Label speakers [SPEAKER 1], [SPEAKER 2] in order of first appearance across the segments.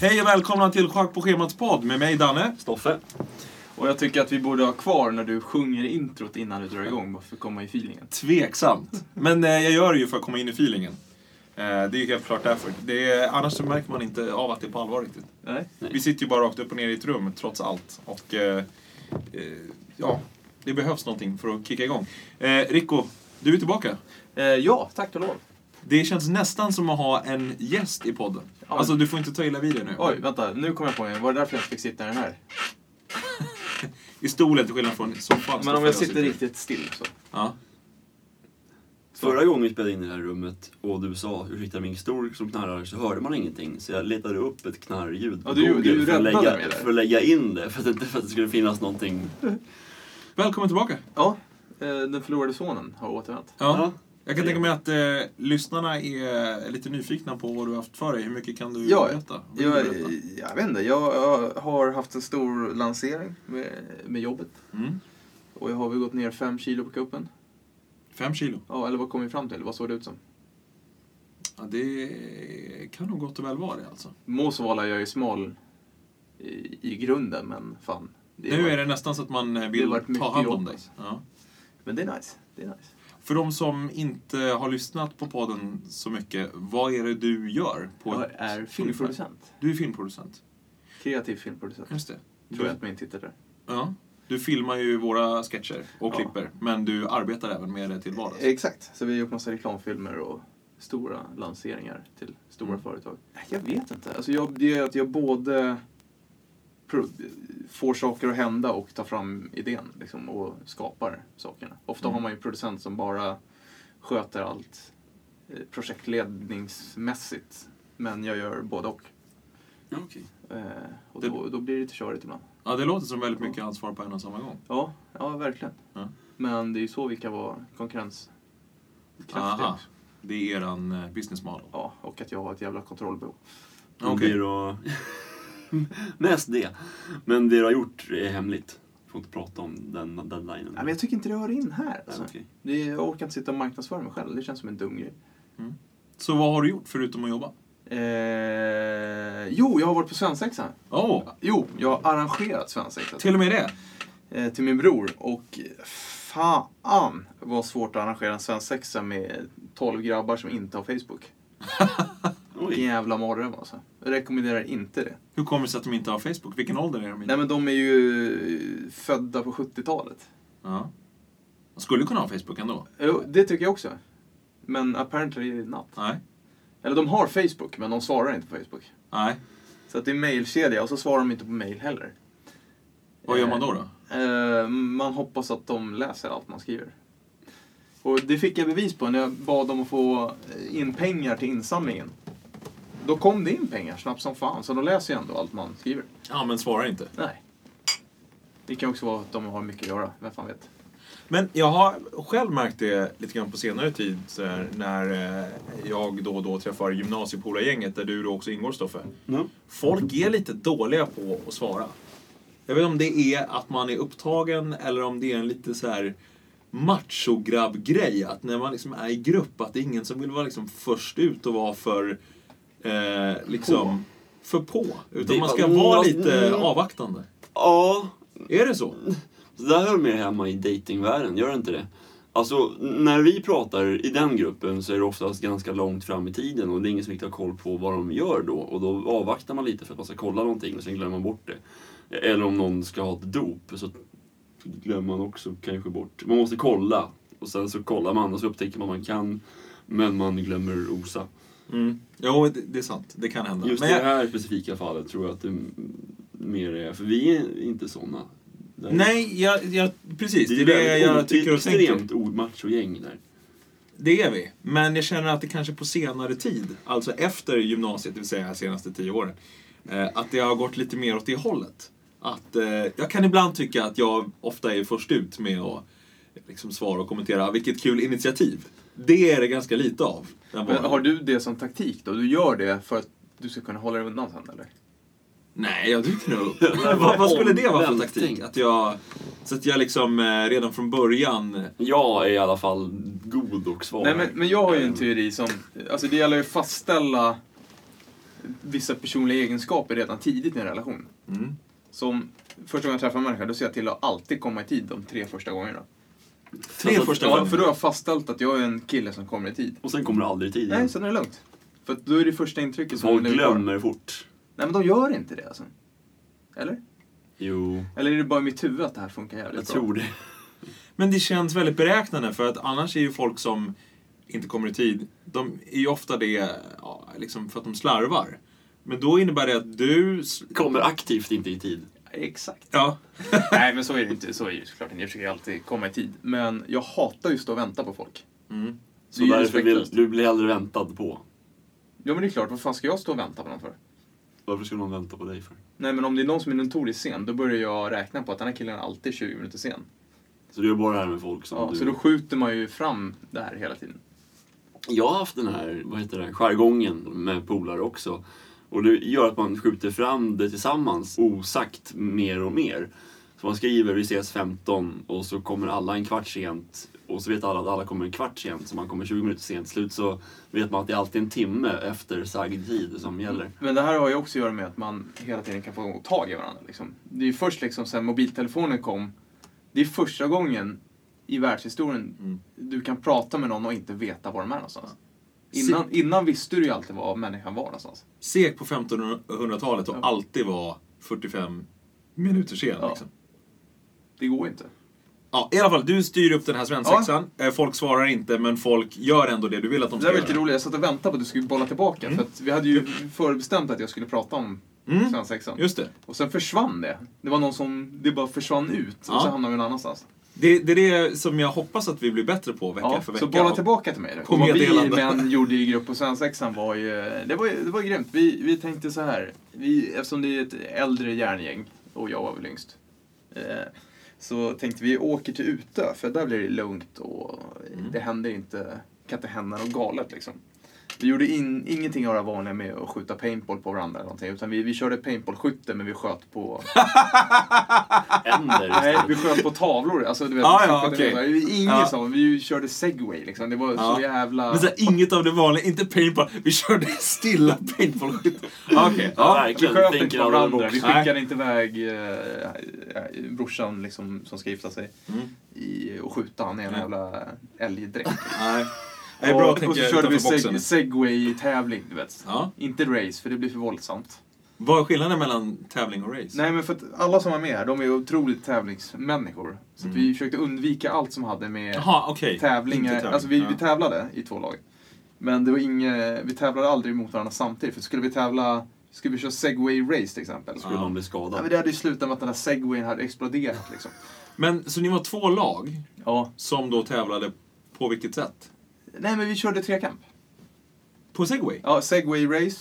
[SPEAKER 1] Hej och välkomna till Schack på schemats podd med mig Danne.
[SPEAKER 2] Stoffe. Och jag tycker att vi borde ha kvar när du sjunger introt innan du drar igång, bara för att komma i feelingen.
[SPEAKER 1] Tveksamt. Men eh, jag gör det ju för att komma in i feelingen. Eh, det är ju helt klart därför. Det är, annars så märker man inte av att det är på allvar riktigt.
[SPEAKER 2] Nej?
[SPEAKER 1] Vi sitter ju bara rakt upp och ner i ett rum trots allt. Och eh, eh, ja, det behövs någonting för att kicka igång. Eh, Rico, du är tillbaka.
[SPEAKER 2] Eh, ja, tack och lov.
[SPEAKER 1] Det känns nästan som att ha en gäst i podden.
[SPEAKER 2] men-
[SPEAKER 1] Alltså du får inte ta illa vid dig nu.
[SPEAKER 2] Oj, vänta, nu kom jag på en Var det därför jag inte fick sitta i den här?
[SPEAKER 1] I stolen till skillnad från soffan.
[SPEAKER 2] Men om jag sitter riktigt still så.
[SPEAKER 1] Ja.
[SPEAKER 3] Förra gången vi spelade in i det här rummet och du sa ursäkta min stol som knarrar så hörde man ingenting. Så jag letade upp ett knarrljud på
[SPEAKER 2] Ja, du-
[SPEAKER 3] Google
[SPEAKER 2] du
[SPEAKER 3] för, att
[SPEAKER 2] räddade
[SPEAKER 3] lägga,
[SPEAKER 2] mig där.
[SPEAKER 3] för att lägga in det. För att, inte, för att det skulle finnas någonting.
[SPEAKER 1] Välkommen tillbaka.
[SPEAKER 2] Ja, eh, den förlorade sonen har återvänt.
[SPEAKER 1] Ja.
[SPEAKER 3] Ja.
[SPEAKER 1] Jag kan tänka mig att eh, lyssnarna är eh, lite nyfikna på vad du har haft för dig. Hur mycket kan du
[SPEAKER 2] Ja,
[SPEAKER 1] berätta? Vill du
[SPEAKER 2] Jag,
[SPEAKER 1] berätta?
[SPEAKER 2] jag vet inte, jag, jag har haft en stor lansering med, med jobbet.
[SPEAKER 1] Mm.
[SPEAKER 2] Och jag har väl gått ner fem kilo på kuppen.
[SPEAKER 1] Fem kilo.
[SPEAKER 2] Ja, eller vad kom vi fram till? Vad såg det ut som?
[SPEAKER 1] Ja, det kan nog gott och väl vara det alltså.
[SPEAKER 2] Må så vara jag är smal i, i grunden, men fan. det
[SPEAKER 1] nu
[SPEAKER 2] var-
[SPEAKER 1] är det nästan så att man eh,
[SPEAKER 2] det
[SPEAKER 1] vill
[SPEAKER 2] har varit mycket
[SPEAKER 1] ta hand om
[SPEAKER 2] jobb,
[SPEAKER 1] dig.
[SPEAKER 2] alltså.
[SPEAKER 1] Ja.
[SPEAKER 2] Men det är nice. Det är nice.
[SPEAKER 1] För de som inte har lyssnat på podden så mycket, vad är det du gör? På
[SPEAKER 2] Jag
[SPEAKER 1] ett-
[SPEAKER 2] är filmproducent.
[SPEAKER 1] Du är filmproducent.
[SPEAKER 2] Kreativ filmproducent.
[SPEAKER 1] Just det.
[SPEAKER 2] Tror jag
[SPEAKER 1] Du,
[SPEAKER 2] att min titel är.
[SPEAKER 1] ja. du filmar ju våra sketcher och
[SPEAKER 2] Ja. Eh,
[SPEAKER 1] klipper, men du arbetar även med det till vardags.
[SPEAKER 2] Exakt. Så vi har gjort massa reklamfilmer och stora lanseringar till stora
[SPEAKER 1] Mm.
[SPEAKER 2] företag. Nej, Jag vet inte. Alltså jag, det är att jag både pro- får saker att hända och tar fram idén liksom, och skapar sakerna. Ofta
[SPEAKER 1] Mm.
[SPEAKER 2] har man ju en producent som bara sköter allt eh, projektledningsmässigt. Men jag gör både och. Eh, och
[SPEAKER 1] Det-
[SPEAKER 2] då, då blir det lite körigt ibland.
[SPEAKER 1] Ja, det låter som väldigt mycket ansvar på en och samma gång.
[SPEAKER 2] Ja, ja verkligen.
[SPEAKER 1] Ja.
[SPEAKER 2] Men det är ju så vi kan vara konkurrenskraftiga.
[SPEAKER 1] Aha. Det är eran eh, business model.
[SPEAKER 2] Ja, och att jag har ett jävla kontrollbehov.
[SPEAKER 3] Men
[SPEAKER 1] Okej.
[SPEAKER 3] Det du har... Mest det. Men det du har gjort är hemligt. Får inte prata om den deadlinen.
[SPEAKER 2] Nej, men jag tycker inte det hör in här. Alltså.
[SPEAKER 3] Nej, okej.
[SPEAKER 2] Det, jag orkar inte sitta och marknadsföra mig själv. Det känns som en dum grej.
[SPEAKER 1] Så vad har du gjort förutom att jobba?
[SPEAKER 2] Eh, jo, jag har varit på svensexan.
[SPEAKER 1] Åh,
[SPEAKER 2] Jo, jag har arrangerat svensexan.
[SPEAKER 1] till och med det!
[SPEAKER 2] eh, till min bror. Och fan vad svårt att arrangera en svensexa med 12 grabbar som inte har Facebook. Vilken
[SPEAKER 3] Oj.
[SPEAKER 2] jävla mardröm alltså. Jag rekommenderar inte det.
[SPEAKER 1] Hur kommer det sig att de inte har Facebook? Vilken ålder är de i?
[SPEAKER 2] Nej men de är ju födda på 70-talet.
[SPEAKER 1] Ja. De skulle kunna ha Facebook ändå.
[SPEAKER 2] Jo, det tycker jag också. Men apparently not.
[SPEAKER 1] Nej.
[SPEAKER 2] Eller de har Facebook, men de svarar inte på Facebook.
[SPEAKER 1] Nej.
[SPEAKER 2] Så att det är mejlkedja och så svarar de inte på mejl heller.
[SPEAKER 1] Vad gör man
[SPEAKER 2] Eh,
[SPEAKER 1] då? då?
[SPEAKER 2] Eh, man hoppas att de läser allt man skriver. Och det fick jag bevis på när jag bad dem att få in pengar till insamlingen. Då kom det in pengar snabbt som fan, så de läser ju ändå allt man skriver.
[SPEAKER 1] Ja, men svarar inte.
[SPEAKER 2] Nej. Det kan också vara att de har mycket att göra, vem fan vet.
[SPEAKER 1] Men jag har själv märkt det lite grann på senare tid så här, när eh, jag då och då träffar gymnasiepolargänget där du då också ingår, Stoffe.
[SPEAKER 3] Ja.
[SPEAKER 1] Folk är lite dåliga på att svara. Jag vet inte om det är att man är upptagen eller om det är en lite så här machograbb-grej. Att när man liksom är i grupp, att det är ingen som vill vara liksom först ut och vara för... Eh, liksom, För på. Utan
[SPEAKER 3] Det-
[SPEAKER 1] man ska vara
[SPEAKER 3] Mm.
[SPEAKER 1] lite avvaktande.
[SPEAKER 3] ja.
[SPEAKER 1] Är det så?
[SPEAKER 3] Så där hör mer hemma i datingvärlden, gör det inte det? Alltså, när vi pratar i den gruppen så är det oftast ganska långt fram i tiden och det är ingen som riktigt har koll på vad de gör då. Och då avvaktar man lite för att man ska kolla någonting och sen glömmer man bort det. Eller om någon ska ha ett dop så glömmer man också kanske bort. Man måste kolla och sen så kollar man och så upptäcker man att man kan men man glömmer osa.
[SPEAKER 1] Mm. Jo, det, det är sant. Det kan hända.
[SPEAKER 3] Just
[SPEAKER 1] Men
[SPEAKER 3] i
[SPEAKER 1] jag,
[SPEAKER 3] det här specifika fallet tror jag att det m- mer är, för vi är inte sådana. Där-
[SPEAKER 1] nej, jag, jag, precis. Det är
[SPEAKER 3] ju
[SPEAKER 1] det
[SPEAKER 3] väldigt o-
[SPEAKER 1] jag tycker och
[SPEAKER 3] Det är
[SPEAKER 1] tänker.
[SPEAKER 3] extremt omachogäng där.
[SPEAKER 1] Det är vi. Men jag känner att det kanske på senare tid, alltså efter gymnasiet, det vill säga de senaste tio åren, eh, att det har gått lite mer åt det hållet. Att eh, jag kan ibland tycka att jag ofta är först ut med att liksom svara och kommentera, vilket kul initiativ. Det är det ganska lite av. den
[SPEAKER 2] Men
[SPEAKER 1] varan.
[SPEAKER 2] har du det som taktik då? Du gör det för att du ska kunna hålla dig undan sen eller?
[SPEAKER 1] Nej, jag dyker nog upp. vad, vad skulle det vara för
[SPEAKER 3] Omvänt
[SPEAKER 1] taktik?
[SPEAKER 3] tänkt.
[SPEAKER 1] Att jag, så att jag liksom eh, redan från början...
[SPEAKER 3] Jag är i alla fall god och svag.
[SPEAKER 2] Nej, men, men jag har ju en teori som... Alltså det gäller ju att fastställa vissa personliga egenskaper redan tidigt i en relation.
[SPEAKER 1] Mm.
[SPEAKER 2] Som första gången jag träffar en människa, då ser jag till att alltid komma i tid de tre första gångerna.
[SPEAKER 1] Tre första
[SPEAKER 2] Ja,
[SPEAKER 1] gången.
[SPEAKER 2] för då har jag fastställt att jag är en kille som kommer i tid.
[SPEAKER 3] Alltså, Och sen kommer det aldrig i tid igen.
[SPEAKER 2] Nej, sen är det lugnt. För att då är det första intrycket som
[SPEAKER 3] Folk
[SPEAKER 2] lever kvar.
[SPEAKER 3] glömmer fort.
[SPEAKER 2] Nej, men de gör inte det alltså. Eller?
[SPEAKER 3] Jo,
[SPEAKER 2] Eller är det bara i mitt huvud att det här funkar jävligt
[SPEAKER 3] jag
[SPEAKER 2] bra?
[SPEAKER 3] tror det.
[SPEAKER 1] Men det känns väldigt beräknande för att annars är ju folk som inte kommer i tid, de är ju ofta det ja, liksom för att de slarvar. Men då innebär det att du... sl-
[SPEAKER 3] Kommer aktivt inte i tid.
[SPEAKER 2] Exakt.
[SPEAKER 1] Ja,
[SPEAKER 2] Nej, men så är det inte. Så är det ju såklart inte. Jag försöker alltid komma i tid. Men jag hatar just att vänta på folk.
[SPEAKER 1] mm.
[SPEAKER 3] Så
[SPEAKER 2] Det är ju
[SPEAKER 3] därför vill,
[SPEAKER 2] respektlöst.
[SPEAKER 3] du blir hellre väntad på.
[SPEAKER 2] Ja, men det är klart. Vad fan ska jag stå och vänta på någon för?
[SPEAKER 3] Varför skulle någon vänta på dig för?
[SPEAKER 2] Nej, men om det är någon som är notoriskt sen, då börjar jag räkna på att den här killen är alltid 20 minuter sen.
[SPEAKER 3] Så du gör bara det här med folk som
[SPEAKER 2] Ja,
[SPEAKER 3] du...
[SPEAKER 2] så då skjuter man ju fram det här hela tiden.
[SPEAKER 3] Jag har haft den här, vad heter det, jargongen med polare också. Och det gör att man skjuter fram det tillsammans osagt mer och mer. Så man skriver vi ses 15 och så kommer alla en kvart sent och så vet alla att alla kommer en kvart sent så man kommer 20 minuter sent. Till slut så vet man att det är alltid en timme efter sagd tid som gäller.
[SPEAKER 2] Men det här har ju också att göra med att man hela tiden kan få tag i varandra. Liksom. Det är ju först liksom sen mobiltelefonen kom, det är första gången i världshistorien
[SPEAKER 1] Mm.
[SPEAKER 2] du kan prata med någon och inte veta var de är någonstans. Innan, innan visste du ju alltid var människan var någonstans.
[SPEAKER 1] Sek på 1500-talet och
[SPEAKER 2] Ja.
[SPEAKER 1] alltid var 45 minuter sen.
[SPEAKER 2] Ja.
[SPEAKER 1] Liksom.
[SPEAKER 2] Det går ju inte.
[SPEAKER 1] Ja, I alla fall, du styr upp den här svensexan. Eh, Folk svarar inte, men folk gör ändå det du vill att de
[SPEAKER 2] Det där
[SPEAKER 1] ska
[SPEAKER 2] var lite
[SPEAKER 1] göra.
[SPEAKER 2] roligt, jag satt och väntade på att du skulle bolla tillbaka. För att vi hade ju förbestämt att jag skulle prata om
[SPEAKER 1] Mm.
[SPEAKER 2] svensexan.
[SPEAKER 1] Just det.
[SPEAKER 2] Och sen försvann det. Det var någon som, det bara försvann ut och
[SPEAKER 1] Ja.
[SPEAKER 2] så hamnade vi någon annanstans.
[SPEAKER 1] det. Det är det som jag hoppas att vi blir bättre på vecka
[SPEAKER 2] Ja,
[SPEAKER 1] för vecka.
[SPEAKER 2] så bolla tillbaka till mig då.
[SPEAKER 1] På
[SPEAKER 2] Och Vad vi
[SPEAKER 1] meddelande.
[SPEAKER 2] män gjorde i grupp på svensexan var ju, det var, ju- det var grymt. Vi, vi tänkte så här, vi, eftersom det är ett äldre järngäng och jag var väl yngst. Eh, så tänkte vi åker till Utö för där blir det lugnt och det händer inte, kan inte hända något galet liksom. Vi gjorde in, ingenting av det vanliga med att skjuta paintball på varandra eller någonting. Utan vi, vi körde paintballskytte men vi sköt på
[SPEAKER 3] Änder
[SPEAKER 2] Nej, vi
[SPEAKER 3] istället.
[SPEAKER 2] sköt på tavlor. Alltså, du vet,
[SPEAKER 1] Ah,
[SPEAKER 2] vi
[SPEAKER 1] ja,
[SPEAKER 2] skickade
[SPEAKER 1] okej.
[SPEAKER 2] iväg. Det var Ingen
[SPEAKER 1] Ja.
[SPEAKER 2] som, vi körde segway liksom. Det var
[SPEAKER 1] Ja.
[SPEAKER 2] så jävla...
[SPEAKER 1] Men så här, inget av det vanliga, inte paintball. Vi körde stilla paintballskytte.
[SPEAKER 2] Ja,
[SPEAKER 3] Ja,
[SPEAKER 2] ja, vi
[SPEAKER 3] verkligen.
[SPEAKER 2] sköt
[SPEAKER 3] Tänker
[SPEAKER 2] inte på
[SPEAKER 3] alla
[SPEAKER 2] varandra.
[SPEAKER 3] box.
[SPEAKER 2] Vi
[SPEAKER 1] Nej.
[SPEAKER 2] skickade inte iväg eh, eh, brorsan liksom, som ska gifta sig
[SPEAKER 1] Mm.
[SPEAKER 2] i, och skjuta han i en
[SPEAKER 1] Ja.
[SPEAKER 2] jävla älgdräkt.
[SPEAKER 1] Nej. Det är bra att
[SPEAKER 2] och, och så
[SPEAKER 1] tänka
[SPEAKER 2] körde vi
[SPEAKER 1] utanför
[SPEAKER 2] seg-
[SPEAKER 1] boxen.
[SPEAKER 2] segway-tävling, du vet.
[SPEAKER 1] Ja.
[SPEAKER 2] Inte race, för det blir för våldsamt.
[SPEAKER 1] Vad är skillnaden mellan tävling och race?
[SPEAKER 2] Nej, men för att alla som var med här, de är otroligt tävlingsmänniskor. Så att vi försökte undvika allt som hade med...
[SPEAKER 1] Jaha, okej.
[SPEAKER 2] tävlingar.
[SPEAKER 1] Inte tävling.
[SPEAKER 2] Alltså vi,
[SPEAKER 1] ja.
[SPEAKER 2] vi tävlade i två lag. Men det var inge, vi tävlade aldrig mot varandra samtidigt. För skulle vi tävla, skulle vi köra segway race till exempel.
[SPEAKER 3] Skulle man bli
[SPEAKER 2] Ja, men
[SPEAKER 3] skadad.
[SPEAKER 2] det hade ju slutat med att den där segwayen hade exploderat liksom.
[SPEAKER 1] Men, så ni var två lag
[SPEAKER 2] Ja.
[SPEAKER 1] som då tävlade på vilket sätt?
[SPEAKER 2] Nej men vi körde trekamp.
[SPEAKER 1] På segway?
[SPEAKER 2] Ja, segway race.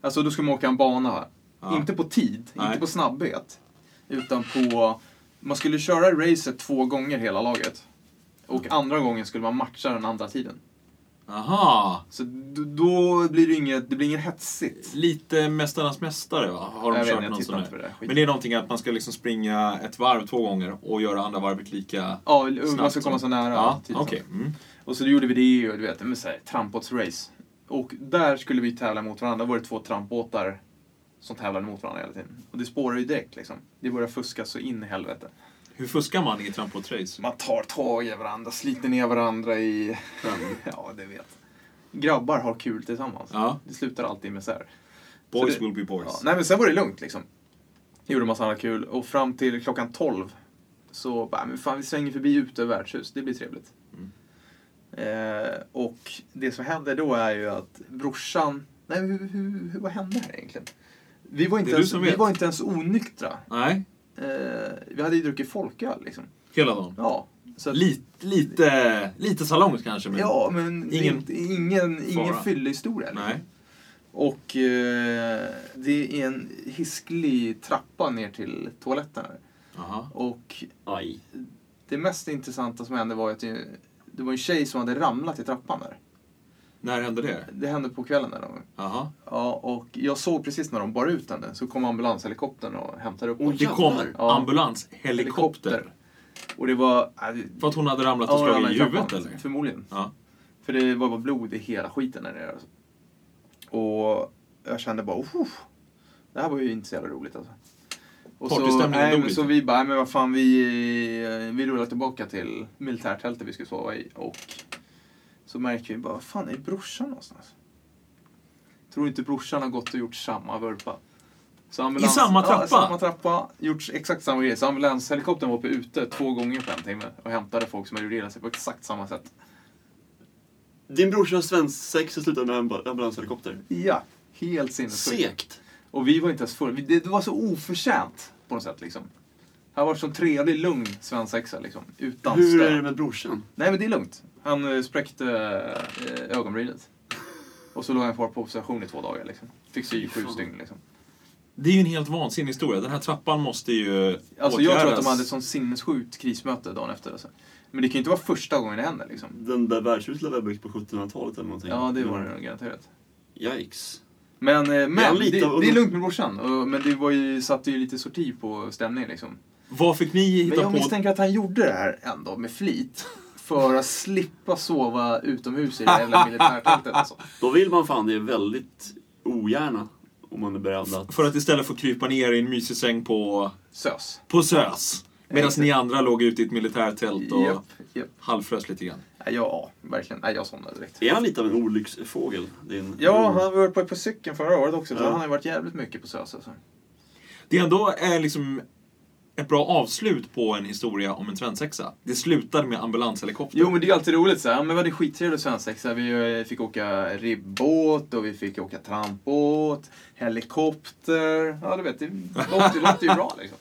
[SPEAKER 2] Alltså då skulle man åka en bana här.
[SPEAKER 1] Ja.
[SPEAKER 2] Inte på tid,
[SPEAKER 1] Nej.
[SPEAKER 2] inte på snabbhet. Utan på, man skulle köra racet två gånger hela laget. Och andra gången skulle man matcha den andra tiden.
[SPEAKER 1] Aha!
[SPEAKER 2] Så d- då blir det inget, det blir inget hetsigt.
[SPEAKER 1] Lite Mästarnas Mästare va? Har de
[SPEAKER 2] Jag
[SPEAKER 1] kört
[SPEAKER 2] vet inte, jag
[SPEAKER 1] någon
[SPEAKER 2] tittar
[SPEAKER 1] sån
[SPEAKER 2] inte på
[SPEAKER 1] här?
[SPEAKER 2] det där skiten.
[SPEAKER 1] Men det är någonting att man ska liksom springa ett varv två gånger och göra andra varvet lika
[SPEAKER 2] Ja, man ska
[SPEAKER 1] snabbt
[SPEAKER 2] komma
[SPEAKER 1] som-
[SPEAKER 2] så nära.
[SPEAKER 1] Ja,
[SPEAKER 2] typ så.
[SPEAKER 1] okej. Mm.
[SPEAKER 2] Och så gjorde vi det och du vet, men så här, trampbåtsrace. Och där skulle vi tävla mot varandra. Då var det två trampbåtar som tävlade mot varandra hela tiden. Och det spårar ju direkt liksom. Det börjar fuska så in i helvete.
[SPEAKER 1] Hur fuskar man i trampbåtsrace?
[SPEAKER 2] Man tar tag i varandra, sliter ner varandra i... ja, det vet. Grabbar har kul tillsammans.
[SPEAKER 1] Ja.
[SPEAKER 2] Det slutar alltid med så här.
[SPEAKER 1] Boys
[SPEAKER 2] Så det-
[SPEAKER 1] will be boys.
[SPEAKER 2] Ja, nej men sen var det lugnt liksom. Gjorde massa annat kul och fram till klockan 12 så bara, men fan vi svänger förbi ute värdshus, det blir trevligt.
[SPEAKER 1] Mm.
[SPEAKER 2] Eh, och det som händer då är ju att brorsan, nej hur, hur, hur, vad hände här egentligen? Vi var inte,
[SPEAKER 1] Det är du
[SPEAKER 2] ens,
[SPEAKER 1] som
[SPEAKER 2] vi
[SPEAKER 1] vet.
[SPEAKER 2] var inte ens onyktra.
[SPEAKER 1] Nej,
[SPEAKER 2] Eh, vi hade ju druckit folköl liksom.
[SPEAKER 1] hela dagen.
[SPEAKER 2] Ja. Så att-
[SPEAKER 1] Lite, lite, lite salongs kanske. Men...
[SPEAKER 2] Ja, men det är
[SPEAKER 1] Ingen
[SPEAKER 2] inte- ingen, ingen
[SPEAKER 1] fara.
[SPEAKER 2] fyllehistoria. liksom.
[SPEAKER 1] Nej.
[SPEAKER 2] Och eh, det är en hisklig trappa ner till toaletten. Här.
[SPEAKER 1] Aha.
[SPEAKER 2] Och
[SPEAKER 3] Aj.
[SPEAKER 2] det mest intressanta som hände var att det, det var en tjej som hade ramlat i trappan där.
[SPEAKER 1] När hände det?
[SPEAKER 2] Det hände på kvällen där någon gång.
[SPEAKER 1] Aha.
[SPEAKER 2] Ja, och jag såg precis när de bar ut henne så kom ambulanshelikoptern och hämtade upp
[SPEAKER 3] Oj,
[SPEAKER 1] Det kom
[SPEAKER 3] Jävlar.
[SPEAKER 2] Ja.
[SPEAKER 1] ambulanshelikopter.
[SPEAKER 2] Och det var... Äh, det-
[SPEAKER 1] För att hon hade ramlat
[SPEAKER 2] ja,
[SPEAKER 1] och
[SPEAKER 2] hon
[SPEAKER 1] slagit
[SPEAKER 2] ramlade
[SPEAKER 1] i
[SPEAKER 2] trappan,
[SPEAKER 1] huvudet eller?
[SPEAKER 2] Förmodligen.
[SPEAKER 1] Ja.
[SPEAKER 2] För det var bara blod i hela skiten där nere. Alltså. Och jag kände bara, oh, det här var ju inte så jävla roligt alltså. Och så,
[SPEAKER 1] Partystämningen
[SPEAKER 2] nej,
[SPEAKER 1] dog
[SPEAKER 2] men
[SPEAKER 1] lite.
[SPEAKER 2] så vi bara, men vad fan, vi, eh, vi rullar tillbaka till militärtältet vi skulle sova i. Och så märker vi bara, vad fan är brorsan någonstans? Tror inte brorsan har gått och gjort samma vurpa? Så ambulans-
[SPEAKER 1] I samma
[SPEAKER 2] Ja,
[SPEAKER 1] trappa?
[SPEAKER 2] samma trappa, gjort exakt samma grej. Så ambulanshelikoptern var uppe ute två gånger på en timme och hämtade folk som hade gjort illa sig på exakt samma sätt.
[SPEAKER 3] Din brorsa svensk sex och slutade med en ambulanshelikopter.
[SPEAKER 2] Ja, helt sinnessjukt.
[SPEAKER 3] Sekt!
[SPEAKER 2] Och vi var inte ens fulla. Vi- Det det var så oförtjänt på något sätt liksom. Här var det sån trevlig, lugn svensexa liksom. Utan
[SPEAKER 3] Hur
[SPEAKER 2] stön.
[SPEAKER 3] är det med brorsan?
[SPEAKER 2] Nej men det är lugnt. Han eh, spräckte eh, ögonbrynet. Och så låg han kvar på observation i två dagar liksom. Fick sy i sju
[SPEAKER 3] Fan.
[SPEAKER 2] stygn liksom.
[SPEAKER 1] Det är ju en helt vansinnig historia. Den här trappan måste ju
[SPEAKER 2] Alltså jag tror att de
[SPEAKER 1] åtgärdas.
[SPEAKER 2] hade ett sånt sinnessjukt krismöte dagen efter alltså. Men det kan ju inte vara första gången det händer liksom.
[SPEAKER 3] Den där värdshuset lär väl byggt på 1700-talet eller någonting? Mm.
[SPEAKER 2] Ja, det var det nog garanterat.
[SPEAKER 3] Yikes.
[SPEAKER 2] Men, eh, men det,
[SPEAKER 3] lite av-
[SPEAKER 2] det är lugnt med brorsan. Och- Men det var ju, satte ju lite sorti på stämningen liksom.
[SPEAKER 1] Vad fick ni hitta
[SPEAKER 2] Men jag
[SPEAKER 1] på?
[SPEAKER 2] misstänker att han gjorde det här ändå med flit. För att slippa sova utomhus i det jävla militärtältet. Alltså.
[SPEAKER 3] Då vill man fan det väldigt ogärna om man är beredd att...
[SPEAKER 1] För att istället få krypa ner i en mysig säng på,
[SPEAKER 2] Sös.
[SPEAKER 1] på SÖS. Medan ni andra låg ute i ett militärtält och
[SPEAKER 2] Japp, japp.
[SPEAKER 1] halvfrös lite grann.
[SPEAKER 2] Nej, Ja, verkligen. Nej, jag somnade direkt.
[SPEAKER 3] Är han lite av en olycksfågel? Din
[SPEAKER 2] Ja, han var på, på cykeln förra året också. Så
[SPEAKER 3] Ja.
[SPEAKER 2] han har ju varit jävligt mycket på Sös. Alltså.
[SPEAKER 1] Det ändå är liksom ett bra avslut på en historia om en svensexa. Det slutade med ambulanshelikopter.
[SPEAKER 2] Jo, men det är ju alltid roligt så här. Ja, Men vad det är skittrevligt svensexa. Vi eh, fick åka ribbåt och vi fick åka trampbåt, helikopter. Ja, du vet. Det låter, det låter ju bra liksom.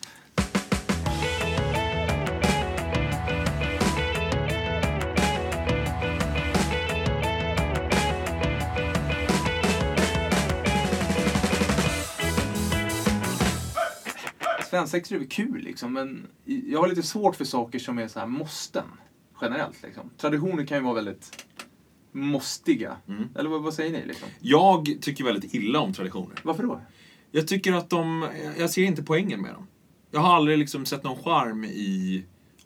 [SPEAKER 2] Svensexor är väl kul liksom, men jag har lite svårt för saker som är så här måsten. Generellt liksom. Traditioner kan ju vara väldigt måstiga.
[SPEAKER 1] Mm.
[SPEAKER 2] Eller vad, vad säger ni liksom?
[SPEAKER 1] Jag tycker väldigt illa om traditioner.
[SPEAKER 2] Varför då?
[SPEAKER 1] Jag tycker att de... Jag ser inte poängen med dem. Jag har aldrig liksom sett någon charm i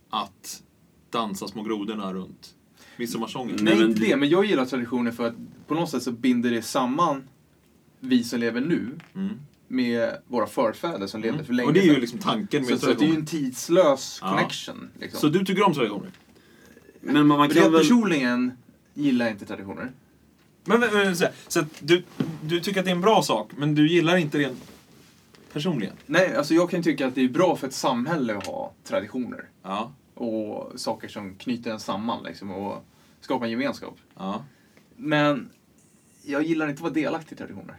[SPEAKER 1] att dansa Små grodorna runt midsommarsången.
[SPEAKER 3] Nej,
[SPEAKER 2] Nej,
[SPEAKER 3] men-
[SPEAKER 2] inte det, men jag gillar traditioner för att på något sätt så binder det samman vi som lever nu
[SPEAKER 1] Mm.
[SPEAKER 2] med våra förfäder som levde för länge
[SPEAKER 1] Och det är ju
[SPEAKER 2] sedan.
[SPEAKER 1] liksom tanken med
[SPEAKER 2] så, så att det är ju
[SPEAKER 1] traditioner.
[SPEAKER 2] en tidslös
[SPEAKER 1] Ja.
[SPEAKER 2] connection. Liksom.
[SPEAKER 1] Så du tycker om traditioner?
[SPEAKER 3] Men man, man
[SPEAKER 2] men jag
[SPEAKER 3] kan väl...
[SPEAKER 2] personligen gillar inte traditioner.
[SPEAKER 1] Men, men, men så här, så att du, du tycker att det är en bra sak, men du gillar inte det personligen?
[SPEAKER 2] Nej, alltså jag kan tycka att det är bra för ett samhälle att ha traditioner.
[SPEAKER 1] Ja.
[SPEAKER 2] och saker som knyter en samman liksom, och skapar en gemenskap.
[SPEAKER 1] ja.
[SPEAKER 2] Men jag gillar inte att vara delaktig i traditioner.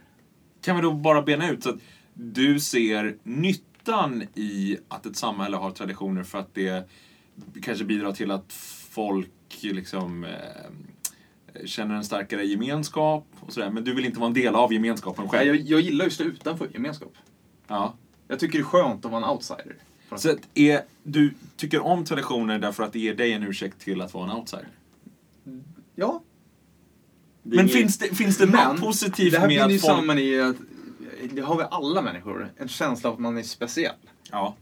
[SPEAKER 1] Kan vi då bara bena ut så att du ser nyttan i att ett samhälle har traditioner för att det kanske bidrar till att folk liksom eh, känner en starkare gemenskap och sådär. Men du vill inte vara en del av gemenskapen
[SPEAKER 2] Nej,
[SPEAKER 1] själv?
[SPEAKER 2] Jag, jag gillar ju att stå utanför gemenskap.
[SPEAKER 1] Ja.
[SPEAKER 2] Jag tycker det är skönt att vara en outsider.
[SPEAKER 1] Så att är, du tycker om traditioner därför att det ger dig en ursäkt till att vara en outsider?
[SPEAKER 2] Ja,
[SPEAKER 3] Det är
[SPEAKER 1] Men
[SPEAKER 3] inget-
[SPEAKER 1] finns det, finns det något positivt
[SPEAKER 2] det här
[SPEAKER 1] med
[SPEAKER 2] binder ju
[SPEAKER 1] att folk...
[SPEAKER 2] samman i att, det har väl alla människor, en känsla av att man är speciell.
[SPEAKER 1] Ja.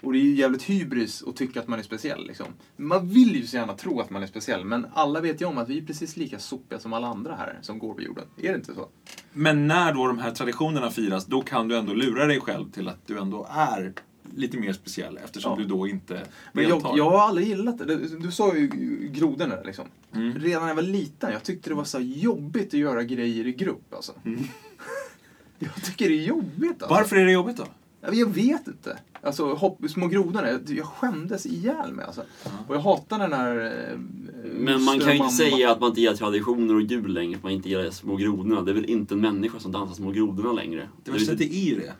[SPEAKER 2] Och det är ju jävligt hybris att tycka att man är speciell. Liksom. Man vill ju så gärna tro att man är speciell, men alla vet ju om att vi är precis lika sopiga som alla andra här som går på jorden. Är det inte så?
[SPEAKER 1] Men när då de här traditionerna firas, då kan du ändå lura dig själv till att du ändå är lite mer speciell eftersom
[SPEAKER 2] Ja.
[SPEAKER 1] du då inte
[SPEAKER 2] Men
[SPEAKER 1] deltar.
[SPEAKER 2] jag, jag har aldrig gillat det. Du, du sa ju grodorna där, liksom.
[SPEAKER 1] Mm.
[SPEAKER 2] Redan när jag var liten, jag tyckte det var så jobbigt att göra grejer i grupp alltså.
[SPEAKER 3] Mm.
[SPEAKER 2] jag tycker det är jobbigt alltså.
[SPEAKER 1] Varför är det jobbigt då?
[SPEAKER 2] Ja, men Jag vet inte. Alltså hopp, små grodorna, jag, jag skämdes ihjäl mig alltså. Och jag hatar den här... eh,
[SPEAKER 3] Men man
[SPEAKER 2] moster
[SPEAKER 3] kan ju
[SPEAKER 2] och
[SPEAKER 3] inte
[SPEAKER 2] mamma.
[SPEAKER 3] säga att man inte gillar traditioner och jul längre, att man inte gillar små grodorna. Det är väl inte en människa som dansar små grodorna längre?
[SPEAKER 1] Det värsta är att det är ju det.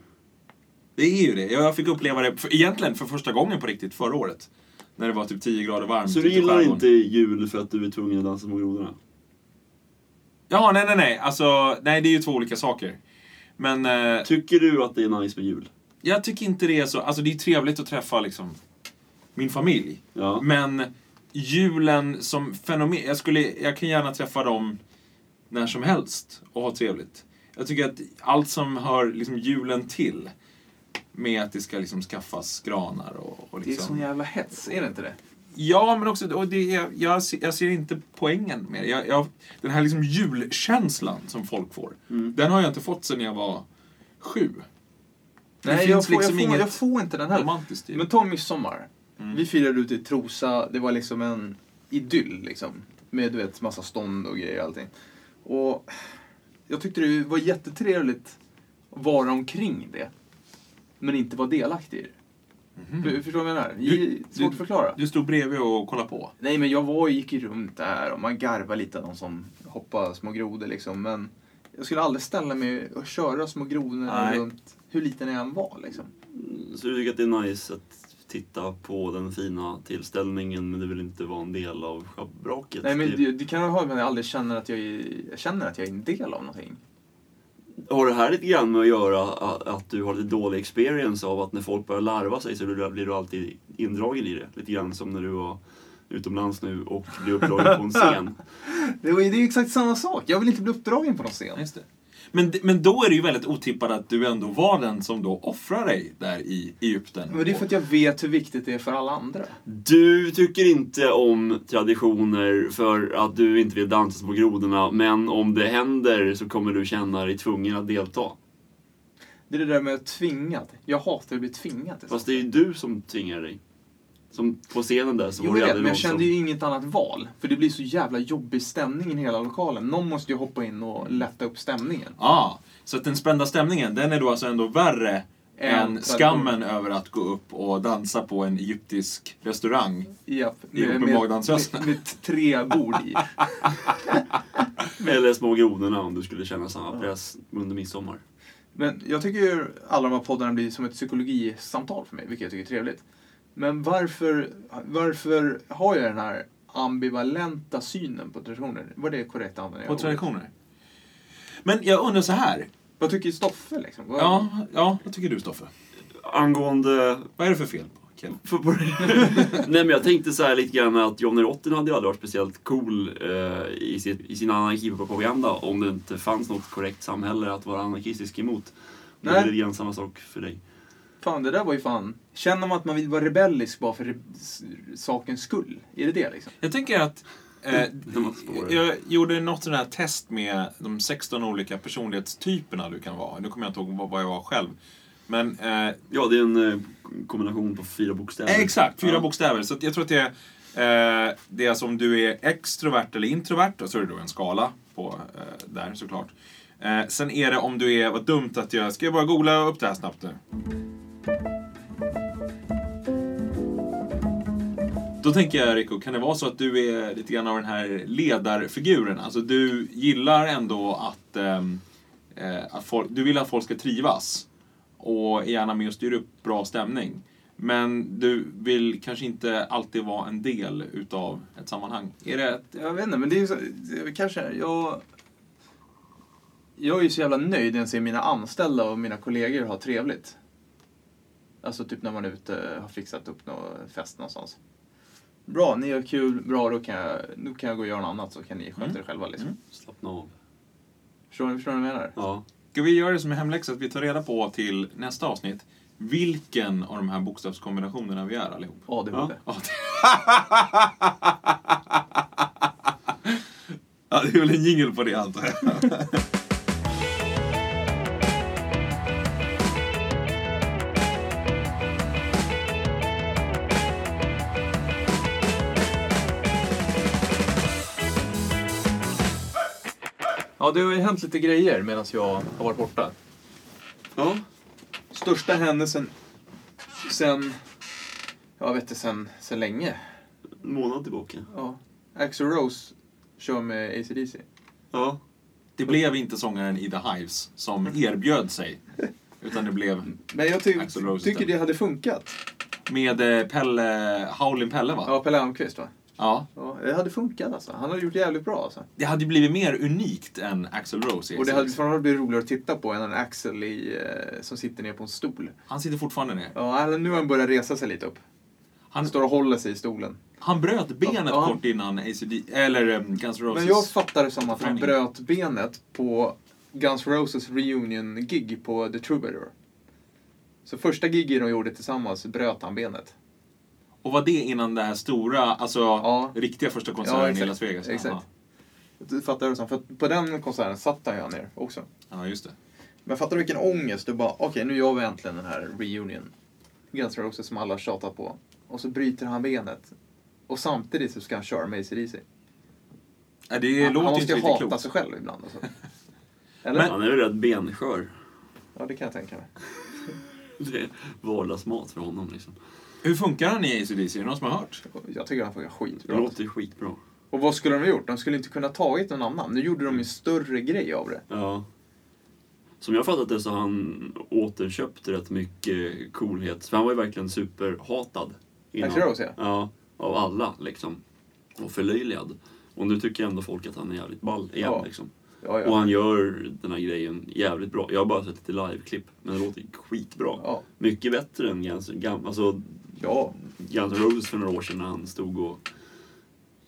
[SPEAKER 1] Det är ju det. Jag fick uppleva det för, egentligen för första gången på riktigt förra året. När det var typ 10 grader varmt
[SPEAKER 3] Så
[SPEAKER 1] ute
[SPEAKER 3] du
[SPEAKER 1] i
[SPEAKER 3] gillar
[SPEAKER 1] skärgården.
[SPEAKER 3] inte jul för att du är tvungen att dansa små grodorna?
[SPEAKER 1] Ja, nej, nej, nej. Alltså, nej, det är ju två olika saker. Men eh,
[SPEAKER 3] Tycker du att det är nice med jul?
[SPEAKER 1] jag tycker inte det är så... Alltså, det är ju trevligt att träffa liksom min familj.
[SPEAKER 3] Ja.
[SPEAKER 1] Men julen som fenomen, jag, skulle, jag kan gärna träffa dem när som helst och ha trevligt. Jag tycker att allt som hör liksom julen till, med att det ska liksom skaffas granar och, och
[SPEAKER 2] Det är sån
[SPEAKER 1] liksom...
[SPEAKER 2] jävla hets, är det inte det?
[SPEAKER 1] Ja, men också, och det, är- jag, ser- jag ser inte poängen med det. Jag, jag, den här liksom julkänslan som folk får,
[SPEAKER 2] Mm.
[SPEAKER 1] den har jag inte fått sedan jag var sju. Det
[SPEAKER 2] Nej,
[SPEAKER 1] finns
[SPEAKER 2] jag får,
[SPEAKER 1] liksom
[SPEAKER 2] jag, får,
[SPEAKER 1] inget
[SPEAKER 2] jag får inte den heller.
[SPEAKER 1] romantiskt i
[SPEAKER 2] Men
[SPEAKER 1] det.
[SPEAKER 2] ta midsommar.
[SPEAKER 1] Mm.
[SPEAKER 2] Vi firade ute i Trosa. Det var liksom en idyll liksom. Med du vet massa stånd och grejer och allting. Och jag tyckte det var jättetrevligt att vara omkring det. Men inte vara delaktig i det. För- Förstår du vad jag menar?
[SPEAKER 1] Mm. Du-
[SPEAKER 2] Svårt att
[SPEAKER 1] du-
[SPEAKER 2] förklara.
[SPEAKER 1] Du stod bredvid och kollade på.
[SPEAKER 2] Nej men jag var gick ju runt där och man garvade lite av de som hoppade små grodor liksom. Men jag skulle aldrig ställa mig och köra små grodorna
[SPEAKER 1] Nej.
[SPEAKER 2] runt hur liten jag än var liksom.
[SPEAKER 3] Så du tycker att det är nice att titta på den fina tillställningen men du vill inte vara en del av typ? schabraket?
[SPEAKER 2] Nej men
[SPEAKER 3] Det-
[SPEAKER 2] det, det kan jag ha men jag aldrig känner att jag, är, jag känner att jag är en del av någonting.
[SPEAKER 3] Har det här lite grann med att göra att, att du har lite dålig experience av att när folk börjar larva sig så blir du, blir du alltid indragen i det? Lite grann som när du var utomlands nu och blev uppdragen på en scen.
[SPEAKER 2] Det, var, ju- det är ju exakt samma sak. Jag vill inte bli uppdragen på någon scen.
[SPEAKER 1] Just det. Men, d- men då är det ju väldigt otippat att du ändå var den som då offrar dig där i Egypten.
[SPEAKER 2] Men det är för att jag vet hur viktigt det är för alla andra.
[SPEAKER 3] Du tycker inte om traditioner för att du inte vill dansa på grodorna men om det händer så kommer du känna dig tvungen att delta.
[SPEAKER 2] Det är det där med tvingad. Jag hatar att bli tvingad. liksom. till sånt.
[SPEAKER 3] Fast det är ju du som tvingar dig. Som på scenen där så
[SPEAKER 2] Jo,
[SPEAKER 3] var det
[SPEAKER 2] jag vet, men
[SPEAKER 3] aldrig någon
[SPEAKER 2] jag kände
[SPEAKER 3] som...
[SPEAKER 2] ju inget annat val. För det blir så jävla jobbig stämning i hela lokalen. Någon måste ju hoppa in och lätta upp stämningen.
[SPEAKER 1] Ah, så att den spända stämningen, den är då alltså ändå värre
[SPEAKER 2] Än
[SPEAKER 1] än skammen över att gå upp och dansa på en egyptisk restaurang.
[SPEAKER 2] Japp,
[SPEAKER 1] Ihop med magdansösen.
[SPEAKER 2] med, med tre bord i.
[SPEAKER 3] Eller Små grodorna om du skulle känna samma press under midsommar.
[SPEAKER 2] Men jag tycker ju alla de här poddarna blir som ett psykologisamtal för mig, vilket jag tycker är trevligt. Men varför, varför har jag den här ambivalenta synen på traditioner? Var det korrekt användning av
[SPEAKER 1] På
[SPEAKER 2] ordet?
[SPEAKER 1] traditioner. Men jag undrar så här.
[SPEAKER 2] Vad tycker Stoffe liksom? Vad-
[SPEAKER 1] Ja, ja, vad tycker du Stoffe?
[SPEAKER 3] Angående...
[SPEAKER 1] Vad är det för fel på Kevin?
[SPEAKER 3] Nej men jag tänkte så här lite grann att Johnny Rotten hade ju aldrig varit speciellt cool eh, i, sitt, i sin anarkipropaganda om det inte fanns något korrekt samhälle att vara anarkistisk emot. Och Det
[SPEAKER 2] Nej.
[SPEAKER 3] är lite grann samma sak för dig.
[SPEAKER 2] Fan, det där var ju fan... Känner man att man vill vara rebellisk bara för re- s- sakens skull? Är det det liksom?
[SPEAKER 1] Jag tänker att eh,
[SPEAKER 3] Det var svårare.
[SPEAKER 1] jag gjorde något sånt här test med de 16 olika personlighetstyperna du kan vara. Nu kommer jag inte ihåg vad vad jag var själv. Men eh,
[SPEAKER 3] Ja, det är en eh, kombination på fyra bokstäver.
[SPEAKER 1] Eh, Exakt, fyra
[SPEAKER 3] Ja.
[SPEAKER 1] bokstäver. Så att jag tror att det är, eh, det är alltså om du är extrovert eller introvert, och så är det då en skala på, eh, där såklart. Eh, sen är det om du är, vad dumt att jag, ska jag bara googla upp det här snabbt nu? Då tänker jag Rico, kan det vara så att du är lite grann av den här ledarfiguren? Alltså du gillar ändå att, ehm, eh, att folk, du vill att folk ska trivas och är gärna med och styr upp bra stämning. Men du vill kanske inte alltid vara en del utav ett sammanhang. Är det ett...
[SPEAKER 2] Jag vet inte, men det är ju så, det är väl kanske... Jag, jag är ju så jävla nöjd när jag ser mina anställda och mina kollegor ha trevligt. Alltså typ när man är ute och har fixat upp någon fest någonstans. Bra, ni har kul, bra, då kan jag, nu kan jag gå och göra något annat så kan ni sköta er själva liksom.
[SPEAKER 3] Slappna av.
[SPEAKER 2] Förstår, ni- förstår ni vad jag menar?
[SPEAKER 3] Ja.
[SPEAKER 1] Ska vi göra det som en hemläxa att vi tar reda på till nästa avsnitt vilken av de här bokstavskombinationerna vi är allihop?
[SPEAKER 2] ADHD.
[SPEAKER 1] Ja, det- ja det är väl en jingel på det antar jag.
[SPEAKER 2] Ja, det har ju hänt lite grejer medan jag har varit borta.
[SPEAKER 3] ja.
[SPEAKER 2] Största händelsen sen, jag vet inte, sen, sen länge.
[SPEAKER 3] En månad tillbaka.
[SPEAKER 2] Ja. Axl Rose kör med ACDC.
[SPEAKER 3] Ja.
[SPEAKER 1] Det blev inte sångaren Ida Hives som erbjöd sig. Utan det blev
[SPEAKER 2] Men jag ty-
[SPEAKER 1] Axl Rose
[SPEAKER 2] tycker
[SPEAKER 1] istället.
[SPEAKER 2] det hade funkat.
[SPEAKER 1] med eh, Pelle, Howlin' Pelle va?
[SPEAKER 2] Ja, Pelle Almqvist va?
[SPEAKER 1] ja.
[SPEAKER 2] Ja, det hade funkat alltså. Han hade gjort det jävligt bra alltså.
[SPEAKER 1] Det hade ju blivit mer unikt än Axel Rose. i
[SPEAKER 2] Och det hade
[SPEAKER 1] SX.
[SPEAKER 2] framförallt blivit roligare att titta på än en Axel i, eh, som sitter ner på en stol.
[SPEAKER 1] Han sitter fortfarande ner.
[SPEAKER 2] Ja, han- nu har han börjat resa sig lite upp. Han
[SPEAKER 1] Han-
[SPEAKER 2] står och håller sig i stolen.
[SPEAKER 1] Han bröt benet
[SPEAKER 2] Ja.
[SPEAKER 1] kort innan ACD, eller um, Guns N' Roses.
[SPEAKER 2] Men jag fattar det som att han
[SPEAKER 1] Förändring.
[SPEAKER 2] bröt benet på Guns N' Roses reunion-gig på The Troubadour. Så första gigen de gjorde tillsammans bröt han benet.
[SPEAKER 1] Och var det innan det här stora, alltså
[SPEAKER 2] Ja.
[SPEAKER 1] riktiga första konserten i
[SPEAKER 2] exakt.
[SPEAKER 1] Las Vegas?
[SPEAKER 2] Exakt.
[SPEAKER 1] Aha.
[SPEAKER 2] Du fattar det som, för att på den konserten satt han ju ner också.
[SPEAKER 1] Ja, just det.
[SPEAKER 2] Men fattar du vilken ångest? Du bara, okej nu gör vi äntligen den här reunion. Guns N' Roses som alla tjatat på. Och så bryter han benet. Och samtidigt så ska han köra med ACDC.
[SPEAKER 1] Ja, det
[SPEAKER 2] Han, han
[SPEAKER 1] låter ju
[SPEAKER 2] måste
[SPEAKER 1] inte
[SPEAKER 2] ju
[SPEAKER 1] riktigt
[SPEAKER 2] hata
[SPEAKER 1] klokt.
[SPEAKER 2] sig själv ibland. Alltså. Eller?
[SPEAKER 3] Han är väl rätt benskör.
[SPEAKER 2] Ja, det kan jag tänka mig.
[SPEAKER 3] Det är vardagsmat för honom liksom.
[SPEAKER 1] Hur funkar han i ACDC? Är det någon som har hört?
[SPEAKER 2] Jag tycker han funkar
[SPEAKER 3] Det
[SPEAKER 2] skitbra.
[SPEAKER 3] låter ju skitbra.
[SPEAKER 2] Och vad skulle de ha gjort? De skulle inte kunna tagit någon annan. Nu gjorde
[SPEAKER 1] Mm.
[SPEAKER 2] de ju större grej av det.
[SPEAKER 3] Ja. Som jag fattat det så har han återköpt rätt mycket coolhet. För han var ju verkligen superhatad.
[SPEAKER 2] Axl Rose, ja.
[SPEAKER 3] Ja, av alla liksom. Och förlöjligad. Och nu tycker ändå folk att han är jävligt ball igen
[SPEAKER 2] Ja.
[SPEAKER 3] liksom.
[SPEAKER 2] Ja,
[SPEAKER 3] Och
[SPEAKER 2] ja.
[SPEAKER 3] han gör den här grejen jävligt bra. Jag har bara sett lite liveklipp, men det låter skitbra.
[SPEAKER 2] Ja.
[SPEAKER 3] Mycket bättre än Guns, gam, alltså
[SPEAKER 2] Ja.
[SPEAKER 3] Guns N' Roses för några år sedan när han stod och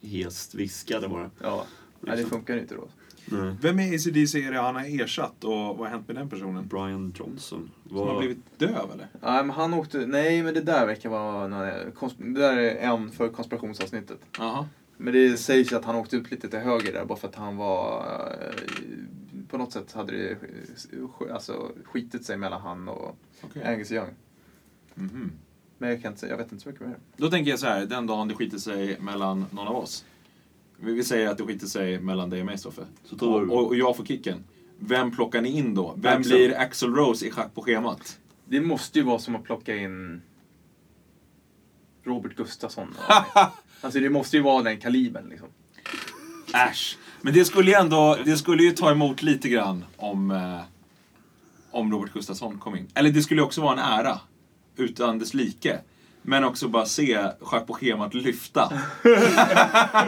[SPEAKER 3] hest viskade bara.
[SPEAKER 2] ja. Nej, det funkar ju inte då.
[SPEAKER 3] Nej.
[SPEAKER 2] Mm.
[SPEAKER 1] Vem är ACDC är det han har ersatt och vad har hänt med den personen?
[SPEAKER 3] Brian Johnson.
[SPEAKER 1] Som har
[SPEAKER 3] Var...
[SPEAKER 1] blivit döv eller?
[SPEAKER 2] Nej, men han åkte... Nej, men det där verkar vara... någon- konsp- Det där är en för konspirationsavsnittet.
[SPEAKER 1] Jaha.
[SPEAKER 2] Men det sägs ju att han åkte ut lite till höger där bara för att han var... eh, På något sätt hade det eh, alltså, skitit sig mellan han och
[SPEAKER 1] Okej.
[SPEAKER 2] Angus Young.
[SPEAKER 1] Mhm.
[SPEAKER 2] Men jag, kan inte, säga- jag vet inte så mycket mer.
[SPEAKER 1] Då tänker jag så här, den dagen det skiter sig mellan någon av oss. Vi vi säger att det skiter sig mellan dig och mig Stoffe.
[SPEAKER 3] Så tar
[SPEAKER 1] Och,
[SPEAKER 3] du-
[SPEAKER 1] och, och jag får kicken. Vem plockar ni in då? Vem
[SPEAKER 3] Axel.
[SPEAKER 1] blir Axel Rose i schack på schemat?
[SPEAKER 2] Det måste ju vara som att plocka in Robert Gustafsson. alltså det måste ju vara den kalibern liksom.
[SPEAKER 1] Äsch! Men det skulle ju ändå, det skulle ju ta emot lite grann om, eh, om Robert Gustafsson kom in. Eller det skulle ju också vara en ära, utan dess like. Men också bara se schack på schemat lyfta.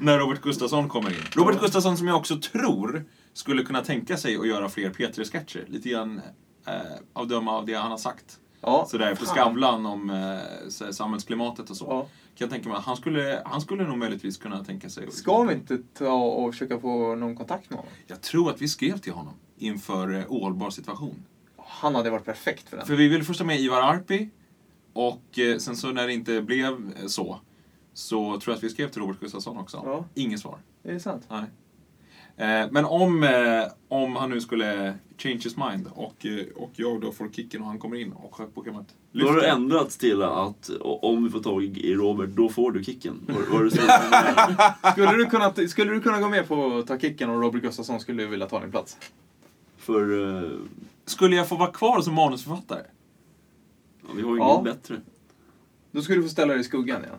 [SPEAKER 1] När Robert Gustafsson kommer in. Robert Gustafsson som jag också tror skulle kunna tänka sig att göra fler P3-sketcher. Lite grann eh, av döma av det han har sagt.
[SPEAKER 2] Ja,
[SPEAKER 1] Sådär efter
[SPEAKER 2] fan.
[SPEAKER 1] Skavlan om eh, så här samhällsklimatet och så.
[SPEAKER 2] Ja.
[SPEAKER 1] Kan jag tänka mig. Han skulle, han skulle nog möjligtvis kunna tänka sig...
[SPEAKER 2] Ska vi inte ta och försöka få någon kontakt med honom?
[SPEAKER 1] Jag tror att vi skrev till honom inför eh, ohållbar situation.
[SPEAKER 2] Han hade varit perfekt för den.
[SPEAKER 1] För vi ville först ha med Ivar Arpi och eh, sen så när det inte blev eh, så så tror jag att vi skrev till Robert Gustafsson också.
[SPEAKER 2] Ja.
[SPEAKER 1] Inget svar.
[SPEAKER 2] Är det sant?
[SPEAKER 1] Nej. Eh, Men om, eh, om han nu skulle change his mind och, eh, och jag då får kicken och han kommer in och sköt på schemat.
[SPEAKER 3] Då har det
[SPEAKER 1] lyfter.
[SPEAKER 3] ändrats till att o- om vi får tag i Robert, då får du kicken. Var, var det så?
[SPEAKER 2] Skulle du, kunna, skulle du kunna gå med på att ta kicken om Robert Gustafsson skulle vilja ta din plats?
[SPEAKER 3] För eh,
[SPEAKER 1] Skulle jag få vara kvar som manusförfattare?
[SPEAKER 3] ja, vi har ju
[SPEAKER 2] Ja.
[SPEAKER 3] inget bättre.
[SPEAKER 2] Då skulle du få ställa dig i skuggan igen.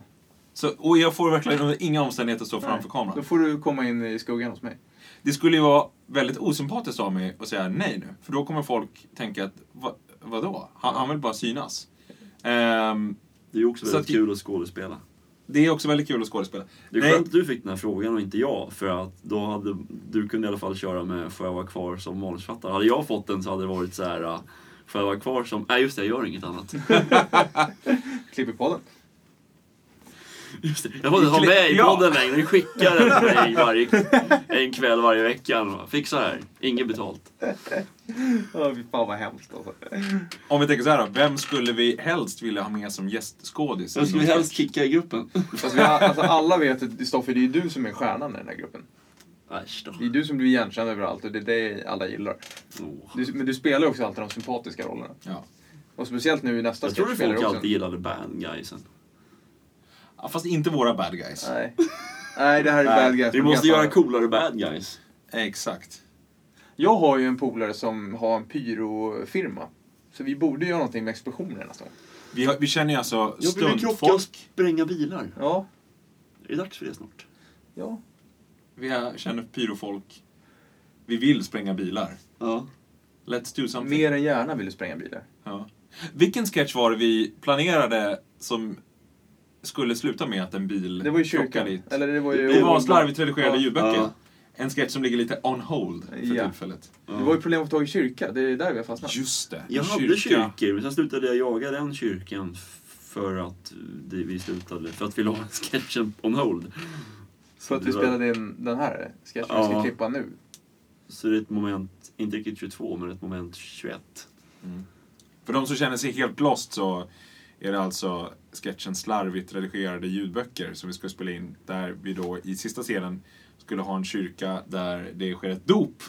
[SPEAKER 1] Så, och jag får verkligen under inga omständigheter stå framför
[SPEAKER 2] Då
[SPEAKER 1] kameran.
[SPEAKER 2] får du komma in i skuggan hos mig.
[SPEAKER 1] Det skulle ju vara väldigt osympatiskt av mig att säga nej nu. För då kommer folk tänka att, va, vadå? Han, han vill bara synas. Ehm,
[SPEAKER 3] Det är ju också
[SPEAKER 1] Så
[SPEAKER 3] väldigt
[SPEAKER 1] att-
[SPEAKER 3] kul att skådespela.
[SPEAKER 1] det är också väldigt kul att skådespela.
[SPEAKER 3] Det är
[SPEAKER 1] Nej,
[SPEAKER 3] skönt att du fick den här frågan och inte jag, för att då hade du kunde i alla fall köra med Får jag vara kvar som manusförfattare? Hade jag fått den så hade det varit så här eh, Får jag vara kvar som... Nej just det, jag gör inget annat.
[SPEAKER 2] Klipp i podden.
[SPEAKER 3] Just det. Jag får inte ha med i
[SPEAKER 1] Ja.
[SPEAKER 3] podden längre. Vi skickar den till mig varje, en kväll varje vecka. Fixa det här. Inget betalt.
[SPEAKER 2] Åh, fy fan vad hemskt alltså.
[SPEAKER 1] om vi tänker så här då, vem skulle vi helst vilja ha med som gästskådis?
[SPEAKER 3] Vem skulle vi helst kicka i gruppen?
[SPEAKER 2] Fast vi har, alltså alla vet att Stoffe, det är ju du som är stjärnan i den här gruppen.
[SPEAKER 3] Äsch då.
[SPEAKER 2] Det är du som blir igenkänd överallt och det är det alla gillar.
[SPEAKER 3] Åh.
[SPEAKER 2] Du, men du spelar ju också alltid de sympatiska rollerna.
[SPEAKER 1] Ja.
[SPEAKER 2] Och speciellt nu i nästa
[SPEAKER 3] Jag trodde
[SPEAKER 2] sketch spelar
[SPEAKER 3] folk
[SPEAKER 2] du också.
[SPEAKER 3] alltid gillade bad guysen.
[SPEAKER 1] Ja, Fast inte våra bad guys.
[SPEAKER 2] Nej. Nej, det här är
[SPEAKER 1] Nej,
[SPEAKER 2] bad guys.
[SPEAKER 3] Vi måste göra coolare bad guys.
[SPEAKER 1] Exakt.
[SPEAKER 2] Jag har ju en polare som har en pyrofirma. Så vi borde göra någonting med explosioner nästa gång.
[SPEAKER 1] Vi, har, vi känner ju alltså
[SPEAKER 3] Jag blev krocka och
[SPEAKER 1] stundfolk.
[SPEAKER 3] spränga bilar.
[SPEAKER 2] Ja.
[SPEAKER 3] Är det dags för det snart?
[SPEAKER 2] Ja.
[SPEAKER 1] Vi har, känner pyrofolk. Vi vill spränga bilar.
[SPEAKER 3] Ja.
[SPEAKER 1] Let's do something.
[SPEAKER 2] Mer än gärna vill du spränga bilar.
[SPEAKER 1] Ja. Vilken sketch var det vi planerade som skulle sluta med att en bil
[SPEAKER 2] Det var ju kyrkan.
[SPEAKER 1] krockade i ett-
[SPEAKER 2] Eller det var ju...
[SPEAKER 1] Det var slarvigt redigerade
[SPEAKER 2] Ja.
[SPEAKER 1] ljudböcker.
[SPEAKER 3] Ja.
[SPEAKER 1] En sketch som ligger lite on hold för
[SPEAKER 2] Ja.
[SPEAKER 1] tillfället.
[SPEAKER 2] Det var ju problem att få tag i kyrka. Det är där vi har fastnat.
[SPEAKER 1] Just det.
[SPEAKER 3] Jag hade kyrkor, men sen slutade jag jaga den kyrkan för att det- vi slutade, för att vi la sketchen on hold.
[SPEAKER 2] Så att vi spelade in den här sketchen vi ska
[SPEAKER 3] Ja.
[SPEAKER 2] klippa nu.
[SPEAKER 3] Så det är ett moment, inte riktigt 22, men ett moment 21.
[SPEAKER 1] För de som känner sig helt lost så är det alltså sketchen Slarvigt redigerade ljudböcker som vi ska spela in. Där vi då i sista scenen skulle ha en kyrka där det sker ett dop.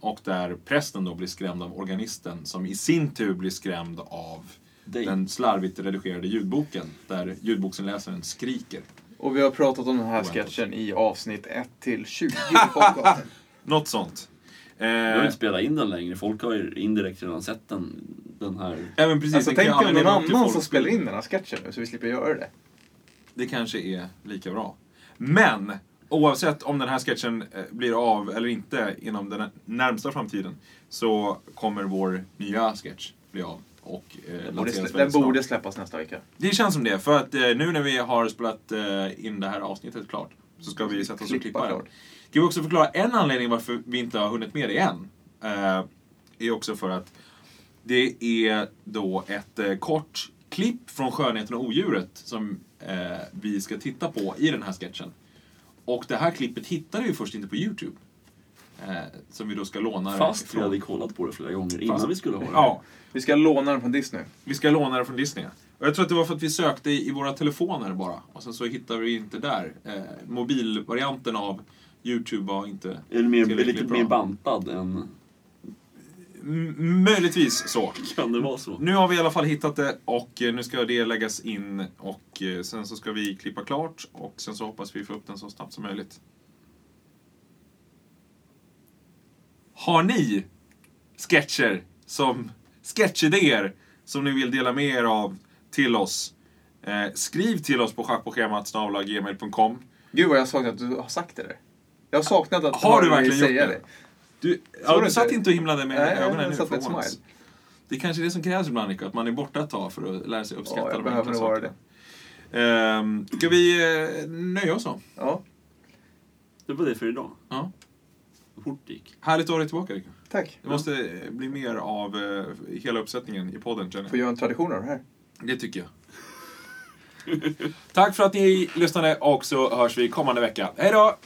[SPEAKER 1] Och där prästen då blir skrämd av organisten som i sin tur blir skrämd av
[SPEAKER 3] Dig.
[SPEAKER 1] den slarvigt redigerade ljudboken. Där ljudboksläsaren skriker.
[SPEAKER 2] Och vi har pratat om den här
[SPEAKER 1] Oväntat.
[SPEAKER 2] sketchen i avsnitt 1 till 20 i podcasten.
[SPEAKER 1] Alltså, Något sånt. Eh,
[SPEAKER 3] Jag vill inte spela in den längre. Folk har ju indirekt redan sett den, den här.
[SPEAKER 1] ja, men Eh, precis,
[SPEAKER 2] Alltså
[SPEAKER 1] den kan
[SPEAKER 2] tänk
[SPEAKER 1] ju
[SPEAKER 2] om
[SPEAKER 1] aldrig
[SPEAKER 2] någon
[SPEAKER 1] nå ut till
[SPEAKER 2] annan
[SPEAKER 1] folk.
[SPEAKER 2] som spelar in den här sketchen nu så vi slipper göra det.
[SPEAKER 1] Det kanske är lika bra. Men oavsett om den här sketchen eh, blir av eller inte inom den närmsta framtiden så kommer vår nya sketch bli av. Och, eh,
[SPEAKER 2] Den borde,
[SPEAKER 1] lanseras
[SPEAKER 2] slä-
[SPEAKER 1] väldigt
[SPEAKER 2] den
[SPEAKER 1] snart.
[SPEAKER 2] borde släppas nästa vecka.
[SPEAKER 1] Det känns som det, för att eh, nu när vi har spelat eh, in det här avsnittet klart så ska vi sätta oss och
[SPEAKER 2] Klippa
[SPEAKER 1] klippa den.
[SPEAKER 2] klart.
[SPEAKER 1] Ska vi också förklara en anledning varför vi inte har hunnit med det än. Eh, är också för att det är då ett eh, kort klipp från Skönheten och Odjuret som eh, vi ska titta på i den här sketchen. Och det här klippet hittade vi först inte på Youtube. Eh, som vi då ska låna
[SPEAKER 3] Fast vi hade kollat på det flera gånger innan
[SPEAKER 1] Fast-
[SPEAKER 3] vi skulle ha den.
[SPEAKER 1] Ja,
[SPEAKER 2] Vi ska låna den från Disney.
[SPEAKER 1] vi ska låna det från Disney. Och jag tror att det var för att vi sökte i i våra telefoner bara. Och sen så hittade vi inte där. Eh, mobilvarianten av YouTube var inte...
[SPEAKER 3] Är det mer, är
[SPEAKER 1] Tillräckligt
[SPEAKER 3] lite
[SPEAKER 1] bra.
[SPEAKER 3] mer bantad än...
[SPEAKER 1] M- möjligtvis så.
[SPEAKER 3] Kan det vara så?
[SPEAKER 1] Nu har vi i alla fall hittat det och eh, nu ska det läggas in och eh, sen så ska vi klippa klart och sen så hoppas vi få upp den så snabbt som möjligt. Har ni sketcher som sketchidéer som ni vill dela med er av till oss? Eh, skriv till oss på schackpåschemat snabel-a gmail.com.
[SPEAKER 2] Gud vad jag saknat att du har sagt det där. Jag har saknat att
[SPEAKER 1] Har
[SPEAKER 2] höra
[SPEAKER 1] du
[SPEAKER 2] dig
[SPEAKER 1] verkligen
[SPEAKER 2] säga
[SPEAKER 1] gjort det? Du,
[SPEAKER 2] du
[SPEAKER 1] ja, du
[SPEAKER 2] inte?
[SPEAKER 1] satt inte och himlade med
[SPEAKER 2] Nej,
[SPEAKER 1] ögonen
[SPEAKER 2] jag
[SPEAKER 1] nu
[SPEAKER 2] satt
[SPEAKER 1] för
[SPEAKER 2] med ett
[SPEAKER 1] once.
[SPEAKER 2] smile.
[SPEAKER 1] Det är kanske är det som krävs ibland, Nico, att man är borta ett tag för att lära sig uppskatta
[SPEAKER 2] Ja, jag
[SPEAKER 1] de enkla
[SPEAKER 2] behöver vara
[SPEAKER 1] sakerna.
[SPEAKER 2] det.
[SPEAKER 1] Ehm, ska vi eh, nöja oss då?
[SPEAKER 2] Ja,
[SPEAKER 3] Det var det för idag.
[SPEAKER 1] Ja.
[SPEAKER 3] Fort gick.
[SPEAKER 1] Härligt att ha dig tillbaka, Rickard.
[SPEAKER 2] tack.
[SPEAKER 1] Det måste eh, bli mer av eh, hela uppsättningen i podden, känner
[SPEAKER 2] Får
[SPEAKER 1] jag.
[SPEAKER 2] göra en tradition av det här.
[SPEAKER 1] Det tycker jag. Tack för att ni lyssnade och så hörs vi kommande vecka. Hej då!